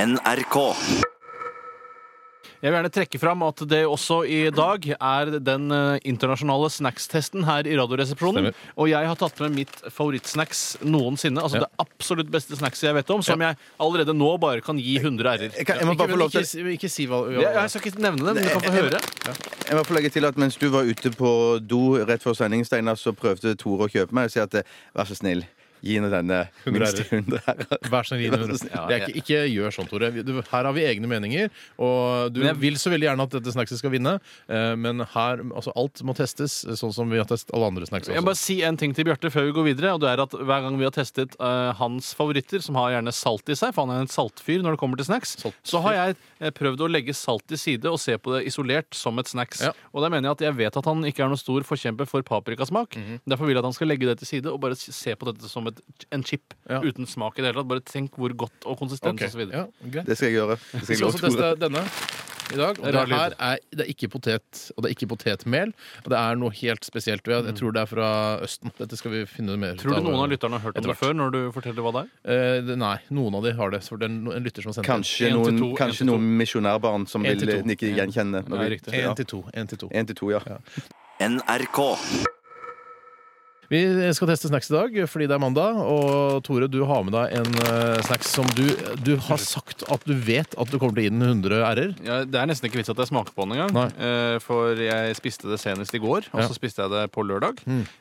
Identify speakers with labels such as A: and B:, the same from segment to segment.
A: NRK.
B: Jeg vil gjerne trekke fram at det også i dag er den eh, internasjonale snackstesten her i Radioresepsjonen.
C: Stemmer.
B: Og jeg har tatt med mitt favorittsnacks noensinne. Altså
C: Ja.
B: det absolutt beste snackset jeg vet om, som jeg allerede nå bare kan gi 100 r-er.
D: Jeg, kan, jeg, må bare få lov
C: ikke,
D: til,
C: ikke, ikke si hva
B: Jeg, jeg skal ikke nevne det, men du kan få høre.
D: jeg må få legge til at mens du var ute på do rett før sending, Steinar, så prøvde Tore å kjøpe meg og si at eh, vær så snill, gi henne denne
C: 100
D: minst 100 ærer.
C: Vær så snill, gi den
D: Vær så
C: rundt.
D: snill.
C: Det er ikke, ikke gjør sånn, Tore. Vi- Du, her har vi egne meninger. Og du
B: Men jeg-
C: vil så veldig gjerne at dette snackset skal vinne, eh, men her altså, alt må testes, sånn som vi har testet alle andre snacks
B: Jeg må bare
C: også.
B: si en ting til Bjarte før vi går videre. Og det er at Hver gang vi har testet eh, hans favoritter, som har gjerne salt i seg, for han er en saltfyr når det kommer til snacks,
C: Saltfyr.
B: så har jeg eh, prøvd å legge salt til side og se på det isolert som et snacks.
C: Ja.
B: Og da mener jeg at jeg vet at han ikke er noen stor forkjemper for paprikasmak.
C: Mhm.
B: Derfor vil jeg at han skal legge det til side og bare s- se på dette som et, en chip
C: Ja.
B: uten smak i det hele tatt. Bare tenk hvor godt og konsistens
C: Ok,
B: osv.
C: ja, greit.
D: Det skal jeg gjøre. Det
C: Vi
D: skal jeg
C: skal også
D: love Tore.
C: teste denne i dag. Og det
B: Rar lyd.
C: her er, det er ikke potet, og det er ikke potetmel. Og det er noe helt spesielt. ved det. Jeg tror det er fra Østen. Dette skal vi finne mer
B: Mm.
C: ut
B: Tror du
C: av.
B: noen av lytterne har hørt om
C: Etter
B: det før? når du forteller hva det er?
C: Eh, det- nei, noen av de har det. For det er no- en lytter som har sendt det.
D: Kanskje
B: En til
D: noen,
B: to, en
D: kanskje
B: til to.
D: noen misjonærbarn som
C: En til
D: vil
C: to.
D: eh, nikke
C: En-
D: gjenkjenne. når
B: Nei,
D: vi-
B: riktig.
D: Ja.
C: Én til to. En til to.
D: En til to, ja.
A: NRK.
C: Vi skal teste snacks i dag fordi det er mandag. Og Tore, du har med deg en eh, snacks som du, du har sagt at du vet at du kommer til å gi den 100 r-er.
B: Ja, det er nesten ikke vits at jeg smaker på den engang.
C: Nei.
B: Eh, for jeg spiste det senest i går, og
C: Ja. Mm.
B: så spiste jeg det på lørdag.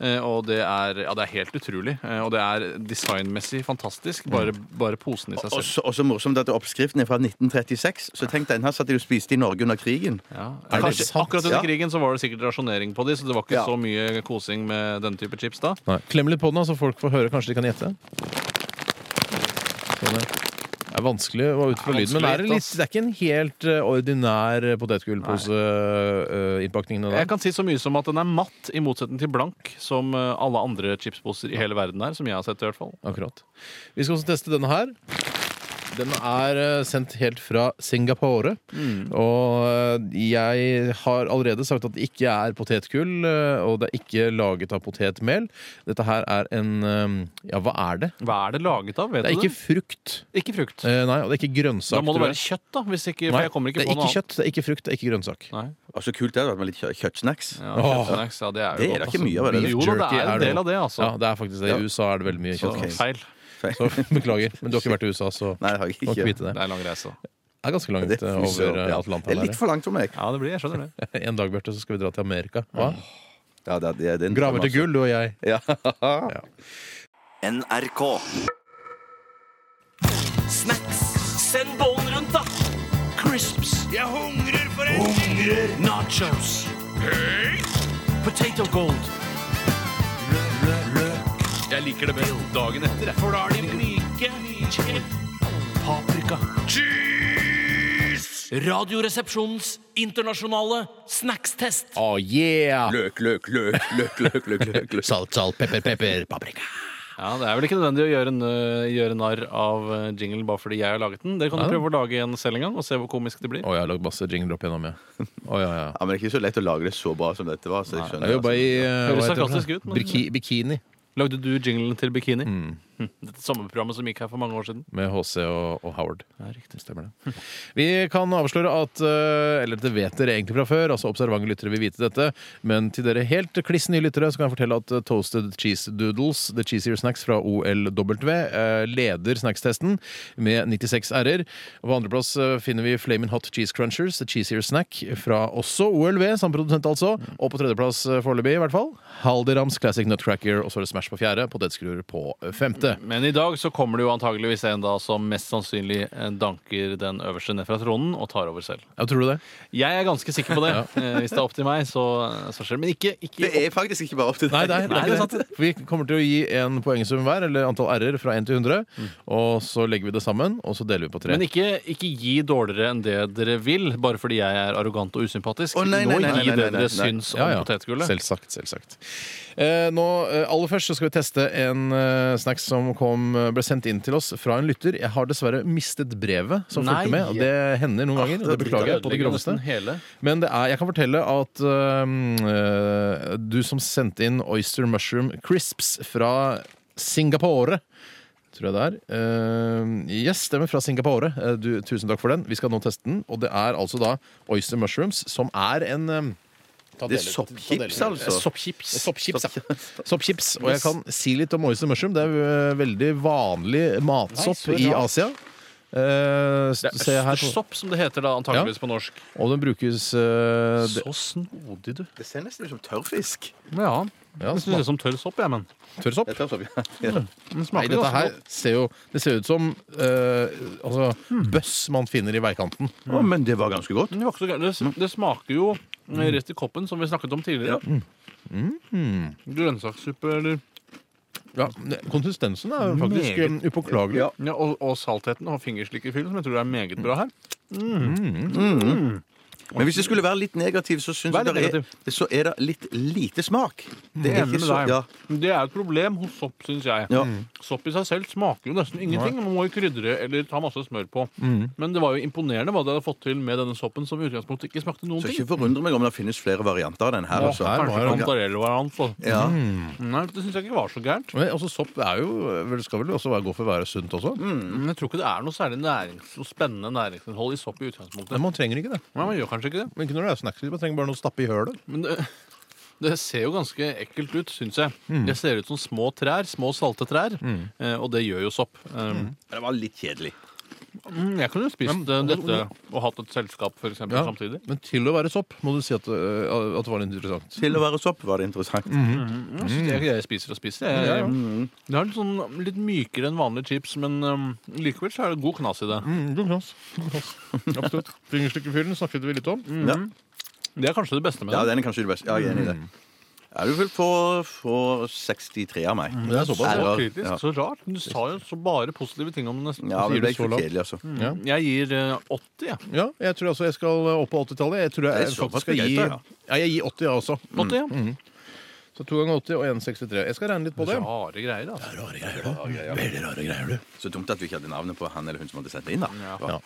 B: Eh, og det er, ja, det er helt utrolig. Eh, og det er designmessig fantastisk. Bare,
C: Mm.
B: bare posen i seg selv.
D: Også, også morsomt at oppskriften er fra 1936. Så tenk den her satt de og spiste i Norge under krigen.
B: Ja.
C: Er det
B: Kanskje,
C: sant?
B: akkurat under
D: Ja.
B: krigen så var det sikkert rasjonering på de, så det var ikke
D: Ja.
B: så mye kosing med denne type chips da.
C: Klem litt på den, da, så folk får høre. Kanskje de kan gjette. Sånn, ja. Det er vanskelig å ut fra
B: Det er
C: lyden, men det er,
B: vanskelig,
C: litt,
B: ass.
C: det er ikke en helt eh, ordinær potetgullposeinnpakning.
B: Jeg kan si så mye som at den er matt, i motsetning til blank, som eh, alle andre chipsposer i hele verden er, som jeg har sett i hvert fall.
C: Akkurat. Vi skal også teste denne her. Den er eh, sendt helt fra Singapore.
B: Mm.
C: Og eh, jeg har allerede sagt at det ikke er potetgull, eh, og det er ikke laget av potetmel. Dette her er en eh, Ja, hva er det?
B: Hva er det laget av, vet
C: Det er
B: du
C: ikke frukt.
B: det? Ikke frukt.
C: Eh, Nei, og det er ikke grønnsak.
B: da må det
C: tror
B: være
C: jeg.
B: kjøtt da, hvis ikke,
C: Nei,
B: for jeg kommer ikke på
C: det er
B: noe
C: ikke
B: annet.
C: kjøtt, det er ikke frukt, det er ikke grønnsak.
B: Nei.
D: Og så kult det hadde vært med litt kjø- kjøttsnacks.
B: Ja,
C: Åh.
B: kjøttsnacks, ja, det er jo
D: Det er
B: godt, altså.
D: da ikke mye av det.
C: Beef
B: Jo da, det
C: jerky
B: er en del av det, altså.
C: Ja, det er faktisk det. I
D: Ja.
C: USA er det veldig mye
B: Så
C: kjøtt.
B: feil.
C: Så beklager, men du har ikke vært i USA, så
D: Nei, det har jeg
C: må ikke
D: ikke.
C: vite det.
B: Det er lang reise. altså. da.
C: Det er ganske langt
D: Det
C: eh, over eh,
D: ja. Det
C: Atlanteren.
D: er
C: her,
D: litt for langt for meg.
B: Ja, det blir, jeg skjønner det.
C: En dag, Bjarte, så skal vi dra til Amerika. Hva?
D: Ja, det er, det er en-
C: Graver til gull, du og jeg.
D: Ja.
A: NRK.
E: Snacks. Send bollen rundt, da. Crisps. Jeg hungrer for en Hungrer. Nachos. Potato gold. Jeg liker det best dagen etter. For da er de myke. Paprika. Cheese! Radioresepsjonens internasjonale snackstest.
C: Oh, yeah!
D: Løk, løk, løk, løk, løk, løk, løk, løk.
C: Salt, salt, pepper, pepper, paprika.
B: Ja, Det er vel ikke nødvendig å gjøre, nø- gjøre narr av eh, jingle bare fordi jeg har laget den. Dere kan jo
C: Ja.
B: prøve å lage en selv en gang og se hvor komisk det blir.
C: Å, jeg har lagd masse jingler opp igjennom, ja. Å, ja, ja.
D: Ja, men det er ikke så lett å lage det så bra som dette var. Så jeg skjønner
C: Jeg
D: altså.
C: jobba i eh,
B: Høres
C: hva heter det?
B: sarkastisk ut, men-
C: Briki- Bikini
B: Lagde du jinglen til Bikini? Hm, Dette sommerprogrammet som gikk her for mange år siden.
C: med HC og, og Howard. Stemmer det. Vi kan avsløre at eh, Eller det vet dere egentlig fra før, altså observante lyttere vil vite dette, men til dere helt kliss nye lyttere så kan jeg fortelle at eh, Toasted Cheese Doodles, The Cheesier Snacks fra OLW, eh, leder snackstesten med 96 r-er. Og På andreplass eh, finner vi Flamin' Hot Cheese Crunchers, The Cheesier Snack fra også OLW, samme produsent altså. Og på tredjeplass eh, foreløpig, i hvert fall, Haldirams Classic Nutcracker, og så er det Smash på fjerde, potetskruer på femte.
B: Men i dag så kommer det jo antageligvis en da som mest sannsynlig eh, danker den øverste ned fra tronen og tar over selv.
C: Ja, tror du det?
B: Jeg er ganske sikker på det. Eh, Hvis det er opp til meg, så, eh, så skjer det. Men ikke, ikke
D: Det er faktisk ikke bare opp til
C: Nei, det
D: deg.
C: er,
B: Nei,
C: det er
B: det er
C: ikke det. For Vi kommer til å gi en poengsum hver, eller antall r-er fra 1 til 100. Og så legger vi det sammen, og så deler vi på tre.
B: Men ikke, ikke gi dårligere enn det dere vil, bare fordi jeg er arrogant og usympatisk.
D: Å, nei, nei,
B: Nå
D: nei, nei,
B: gi det
D: nei, nei,
B: dere
D: nei.
B: syns om
C: ja, ja.
B: potetgullet.
C: Selvsagt. selvsagt. Eh, nå, eh, aller først så skal vi teste en eh, snacks som kom, eh, ble sendt inn til oss fra en lytter. Jeg har dessverre mistet brevet som
B: Nei.
C: fulgte med. og Det hender noen ganger, og Ah, det beklager jeg på det groveste.
B: hele.
C: Men det er, jeg kan fortelle at øhm, øh, du som sendte inn Oyster Mushroom Crisps fra Singapore tror jeg det er. Eh, yes, stemmer fra Singapore. Eh, du, tusen takk for den. Vi skal nå teste den, og det er altså da oyster mushrooms, som er en eh,
D: Det er soppchips, altså.
C: Soppchips.
B: Eh,
C: Soppchips, ja. Soppchips. Og jeg kan si litt om oyster mushroom. Det er jo, eh, veldig vanlig matsopp
B: Nei, så
C: i
B: rart.
C: Asia. Eh,
B: Det
C: se
B: er
C: her på.
B: østersopp, som det heter da, antakeligvis på norsk.
C: Og den brukes eh, det,
B: Så snodig, du.
D: Det ser nesten ut som tørrfisk.
B: Ja.
C: Ja,
B: det ser ut som tørr sopp, jeg, men
C: tørr sopp.
D: Det er tørrsopp, ja. ja.
B: den
C: Nei,
B: smaker
C: dette
B: ganske
C: her ser jo Det ser ut som eh, altså, bøss man finner i veikanten.
D: Å, men det var ganske
B: godt.
D: godt.
B: Men Det, var ikke så
D: Mm.
B: gærent. det, det smaker jo eh, rett i koppen, som vi snakket om tidligere.
D: Mm.
B: Grønnsakssuppe eller
C: Ja, konsistensen er faktisk
B: Meget.
C: eh, upåklagelig.
D: Ja.
B: ja, og, og saltheten og fingerslikkefyll, som jeg tror er
D: Mm.
B: meget bra her.
D: Men hvis det skulle være Mm. litt negativ, så syns
B: Vær
D: jeg
B: litt
D: det er, så er det litt lite smak. Det er
B: Enig med
D: ikke så
B: deg.
D: ja.
B: Det er et problem hos sopp, syns jeg. Mm.
D: Ja.
B: Sopp i seg selv smaker jo nesten ingenting. Man må jo krydre eller ta masse smør på.
D: Mm.
B: Men det var jo imponerende hva de hadde fått til med denne soppen, som i utgangspunktet ikke smakte noen
D: Så
B: ting.
D: ikke forundre meg om det finnes flere varianter av den her. Mm. Også.
C: her var
B: Kanskje
C: det-
B: kantarellvariant. så-
D: Ja.
B: Nei, det syns jeg ikke var så gærent.
C: Men altså, sopp er jo, vel, skal vel også være, gå for å være sunt også?
D: Mm.
B: Men jeg tror ikke det er noe særlig nærings, noe spennende næringsinnhold i sopp i utgangspunktet.
D: Mm.
C: Men man trenger ikke det.
B: Nei, man gjør kanskje ikke det.
C: Men ikke når det er snacks, man trenger bare noe å stappe i hølet.
B: Men det, det ser jo ganske ekkelt ut, syns jeg.
C: Mm.
B: Det ser ut som små trær, små salte trær, eh, og det gjør jo sopp. Um,
D: Det var litt kjedelig.
B: mm, Jeg kunne jo spist eh, dette og hatt et selskap for eksempel,
C: Ja.
B: samtidig.
C: Men til å være sopp må du si at, øh, at det var litt interessant.
D: Til å være sopp var det interessant.
B: Ja, så det er ikke det jeg spiser og spiser. Jeg,
C: Mm. Ja, ja.
B: Mm. Det er litt, sånn, litt mykere enn vanlige chips, men um, likevel så er det god knas i det.
C: Mm, god knas. God knas. Absolutt. Fingerstykkefyllen snakket vi litt om.
D: Ja.
B: Det er kanskje det beste med
D: ja,
B: det.
D: den er kanskje det beste. Ja, jeg er enig i det.
C: Mm.
D: Ja, du vil få, få 63 av meg.
C: Det er såpass.
B: Så
D: Eller-
B: kritisk,
D: ja.
B: så rart. Du sa jo så bare positive ting om det nesten.
D: Ja,
C: Sier
D: men det
C: du
D: er ikke
C: så Mm. lavt?
D: kjedelig, altså.
C: Ja.
B: Jeg gir eh, 80, jeg.
C: ja, jeg tror altså jeg skal opp på 80-tallet. Jeg tror jeg,
D: Det er såpass
C: faktisk skal gi
D: begeistret,
C: Ja, jeg gir 80, jeg også.
B: 80, ja.
C: Mm. Så to ganger 80 og 1,63. Jeg skal regne litt på det.
B: Rare greier, altså.
C: Rare greier, du. Veldig rare greier, du.
D: Så dumt at du ikke hadde navnet på han eller hun som hadde sendt det inn. da.
C: Ja.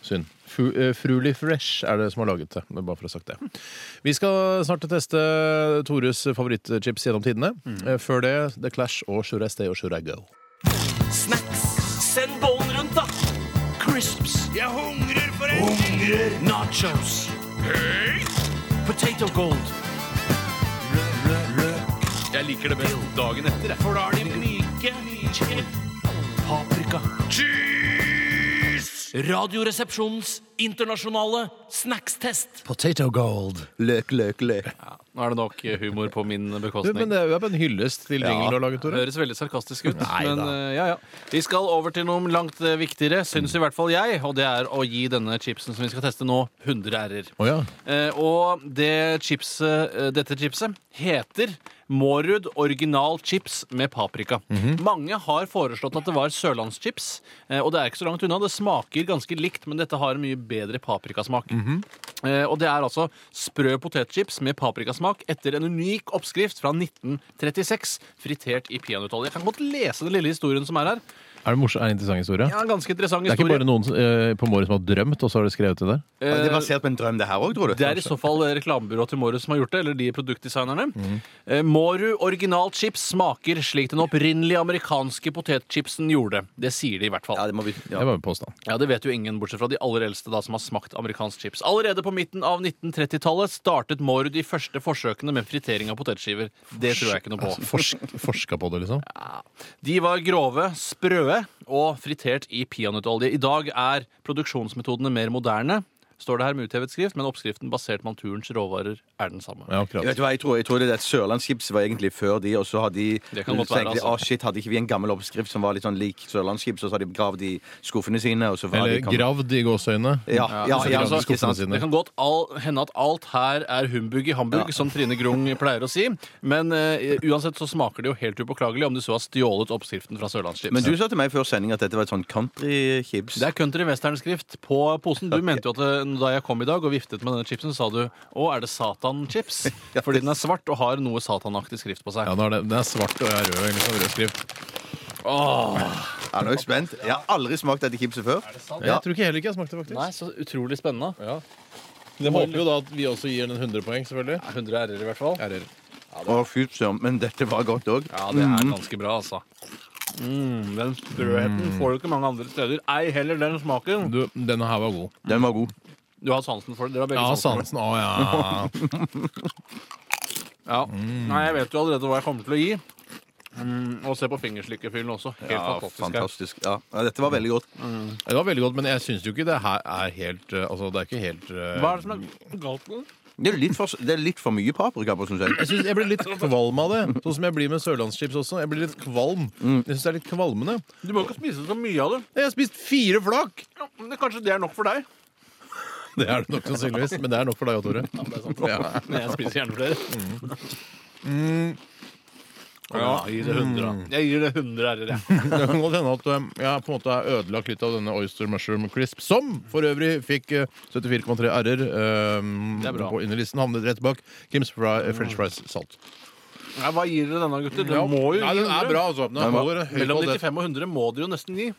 C: Synd. Fru, eh, Fruly Fresh er det som har laget det. det er bare for å ha sagt det. Vi skal snart teste Tores favorittchips gjennom tidene. Eh, Før det The Clash og Should I Stay og Should I Go.
E: Snacks. Send bollen rundt, da. Crisps. Jeg hungrer for en Hungrer. Nachos. Potato gold. Jeg liker det best dagen etter. For da er de myke. Paprika. Cheese! Radioresepsjonens internasjonale snackstest.
C: Potato Gold.
D: Løk, løk, løk.
B: Nå er det nok eh, humor på min
C: Du, men
B: bekostning.
C: det er jo bare en hyllest til ringen du har laget, Tore.
B: Høres veldig sarkastisk ut,
C: Nei
B: men
C: da.
B: eh, ja, ja. Vi skal over til noe langt eh, viktigere, syns i hvert fall jeg, og det er å gi denne chipsen som vi skal teste nå, 100 r-er.
C: Å ja.
B: Eh, og det chipset, eh, dette chipset heter Mårud original chips med paprika.
C: Mhm.
B: Mange har foreslått at det var sørlandschips, eh, og det er ikke så langt unna. Det smaker ganske likt, men dette har en mye bedre paprikasmak.
C: Mhm.
B: Eh, og det er altså sprø potetchips med paprikasmak etter en unik oppskrift fra 1936, fritert i peanøttolje. Jeg kan godt lese den lille historien som er her.
C: Er det morsom, er det en interessant historie?
B: Ja, en ganske interessant
C: Det er ikke
B: historie. Eh,
C: bare noen eh, på Måre som har drømt, og så har de skrevet det der?
D: Det er basert på en drøm, det her òg, tror du?
B: Det er i så fall reklamebyrået til Mårud som har gjort det, eller de produktdesignerne.
D: Mm.
B: Eh, Mårud original chips smaker slik den opprinnelige amerikanske potetchipsen gjorde. Det sier de i hvert fall.
D: Ja, det må vi... Ja.
C: Det var en påstand.
B: Ja, Det vet jo ingen, bortsett fra de aller eldste da, som har smakt amerikansk chips. Allerede på midten av 1930-tallet startet Mårud de første forsøkene med fritering av potetskiver. Det tror jeg ikke noe på.
C: Forsk, forska på det, liksom?
B: De var grove, sprøe og fritert i peanøttolje. I dag er produksjonsmetodene mer moderne, står det her med uthevet skrift, men oppskriften basert på naturens råvarer er den samme.
C: Ja,
D: Jeg
C: akkurat.
D: vet hva, jeg tror, jeg tror det er et sørlandschips var egentlig før de, og så har de
B: Det kan godt
D: så
B: være,
D: tenkte de,
B: altså.
D: «Å, shit, hadde ikke vi en gammel oppskrift som var litt sånn lik sørlandschips, og så har de gravd i skuffene sine, og så var
C: Eller
D: de kommet-
C: gravd i gåseøyne.
D: Ja, ja,
B: altså,
D: ja,
B: altså,
D: ikke sant?
C: sine.
B: Det kan godt all, hende at alt her er humbug i Hamburg, som Trine Grung pleier å si. Men eh, uansett så smaker det jo helt upåklagelig om de så har stjålet oppskriften fra Sørlandschips.
D: Men du sa til meg før sending at dette var et sånn countrychips.
B: det er country western-skrift på posen. Du mente jo at eh, da jeg kom i dag og viftet med denne chipsen, sa du å, er det Satan-chips? Fordi den er svart og har noe satanaktig skrift på seg.
C: Ja, nå er det, den er svart og jeg er rød. Liksom, rød skrift.
D: Ja, nå er jeg spent. Jeg har aldri smakt dette chipset før. Ja.
C: Jeg tror ikke heller ikke jeg smakte det, faktisk.
B: Nei, så utrolig spennende.
C: Ja. De håper jo da at vi også gir den 100 poeng, selvfølgelig.
B: 100 r-er i hvert fall.
C: RR.
D: Å, fy søren. Men dette var godt òg.
B: Ja, det er ganske bra, altså. Mm, den sprøheten får du ikke mange andre steder. Ei heller den smaken.
C: Du, denne her var god.
D: Mm.
C: Sånn.
D: Den var god.
B: Du har sansen for det. Dere har begge
C: Ja,
B: sansen.
C: sansen. Å, ja.
B: for det. Ja.
C: Mm.
B: Nei, jeg vet jo allerede hva jeg kommer til å gi. Mm, og se på fingerslikkefyllen også. Helt
D: Ja,
B: fantastisk. her.
D: fantastisk. Ja. ja, dette var veldig godt.
C: Det var veldig godt, men jeg syns jo ikke det her er helt eh, Altså, det er ikke helt eh,
B: Hva er det som er galt med den?
D: Det er litt for, det er litt for mye paprika på, syns jeg.
C: Jeg, synes, jeg blir litt kvalm av det, sånn som jeg blir med sørlandschips også. Jeg blir litt kvalm. Jeg syns det er litt kvalmende.
B: Du må ikke spise så mye av det.
C: Jeg har spist fire flak!
B: Ja, men det- Kanskje det er nok for deg?
C: Det er det nok sannsynligvis, men det er nok for deg òg, Tore. Ja.
B: Men jeg spiser gjerne flere. Mm. Ja, jeg gir det 100, da. Jeg gir det 100 ærer, jeg.
C: Det kan godt hende at eh, jeg på en måte har ødelagt litt av denne Oyster Mushroom Crisp, som for øvrig fikk eh, 74,3
B: Det
C: r-er. eh,
B: er bra. Mm.
C: På innerlisten havnet rett bak Kims Fry, eh, French Fries Salt.
B: Ja, hva gir dere denne, gutter? Den må jo
C: Nei,
B: gi
C: den er
B: 100.
C: bra, altså. Den
D: Den var-
C: holder høy
B: Mellom
C: kvalitet.
B: 95 og 100 må dere jo nesten gi.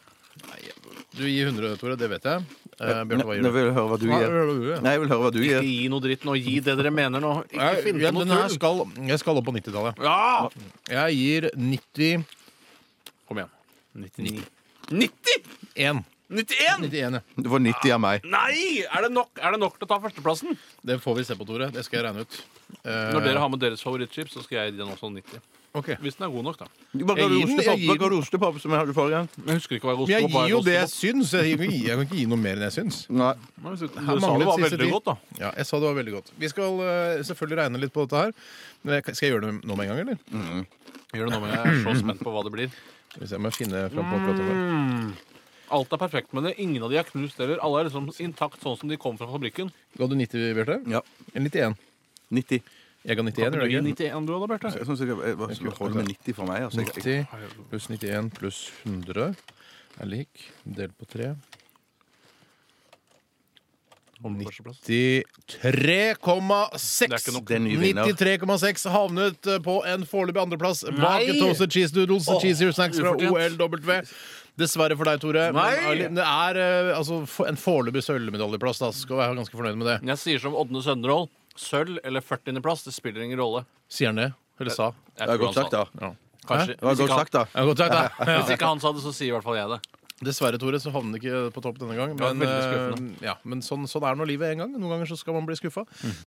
C: Du gir 100, Tore. Det vet jeg. Eh, Bjarte, hva
D: Nå
C: gir du?
D: vil jeg høre hva du
C: Hva
D: gjør.
C: gjør du?
D: Nei, jeg vil høre hva du
B: Ikke
D: gjør.
B: gi noe dritt nå. Gi det dere mener nå. Ikke
C: Jeg,
B: finn
C: jeg,
B: på
C: den
B: noe
C: her
B: tull.
C: skal, jeg skal opp på 90-tallet.
B: Ja!
C: Jeg gir 91.
B: Kom igjen. 99. 90? 91?
C: 91, ja.
D: Det var 90 av meg.
B: Nei! Er det nok, er det nok til å ta førsteplassen?
C: Det får vi se på, Tore. Det skal jeg regne ut. Eh,
B: Når dere har med deres favorittchips, så skal jeg gi den også 90.
C: ok.
B: Hvis den er god nok, da.
D: Hva
C: Jeg
D: ga du
C: gir den- jeg
D: ostepop?
C: gir
D: Hva ga du ostepop som jeg hadde forrige gang?
B: Jeg husker ikke hva jeg
C: Men jeg
B: på, hva
C: gir jo det jeg
B: kostet
C: syns. Jeg, gir- jeg kan ikke gi noe mer enn jeg syns.
D: Nei.
B: på. Men hvis Du
C: Her
B: du sa
C: manglet
B: det var
C: siste
B: veldig
C: tid.
B: godt, da.
C: Ja, jeg sa det var veldig godt. Vi skal eh, selvfølgelig regne litt på dette her. Men jeg- Skal jeg gjøre det nå med en gang, eller?
B: Gjør det nå, men jeg er så spent på hva det blir.
C: Skal vi se om jeg finner fram på akkurat det. her.
B: Alt er perfekt med det. Ingen av de er knust heller. Alle er liksom intakt sånn som de kom fra fabrikken.
C: Ga du 90, Bjarte?
D: Ja.
C: Eller 91?
D: 90.
C: Jeg ga
B: Kan
C: 91. gjorde
B: du gi
C: jeg ikke?
B: 91 du da, Bjarte?
D: Jeg synes jeg, jeg, jeg skulle holde med 90 for meg. Altså. Jeg, jeg,
C: 90 pluss 91 pluss 100 er lik. Delt på 3.
B: Kommer på førsteplass.
C: 93,6!
B: Det er ikke nok.
D: Det er en ny vinner.
C: 93,6 havnet eh, på en foreløpig andreplass bak
B: Nei!
C: Toasted Cheese Doodles og Cheesy Snacks fra
B: ufortjent.
C: OLW. Dessverre for deg, Tore.
B: Nei!
C: Men det er eh, altså, for- en foreløpig sølvmedaljeplass. Da skal være ganske fornøyd med det.
B: Jeg sier som Ådne Sønderål. Sølv eller 40.-plass, det spiller ingen rolle.
C: Sier han det? Eller sa?
B: Jeg
D: det var
B: tror
D: godt
B: han
D: sagt,
B: sa
D: da.
B: det.
C: Ja.
B: Kanskje.
D: Det var
B: Hvis ikke
D: godt
B: han-
D: sagt, da.
C: Ja, godt sagt, da.
B: Hvis ikke han sa det, så sier i hvert fall jeg det.
C: Dessverre, Tore, så havnet den ikke på topp denne gang.
B: var
C: Men,
B: veldig skuffende.
C: eh, ja, men sånn, sånn er nå livet en gang. Noen ganger så skal man bli skuffa.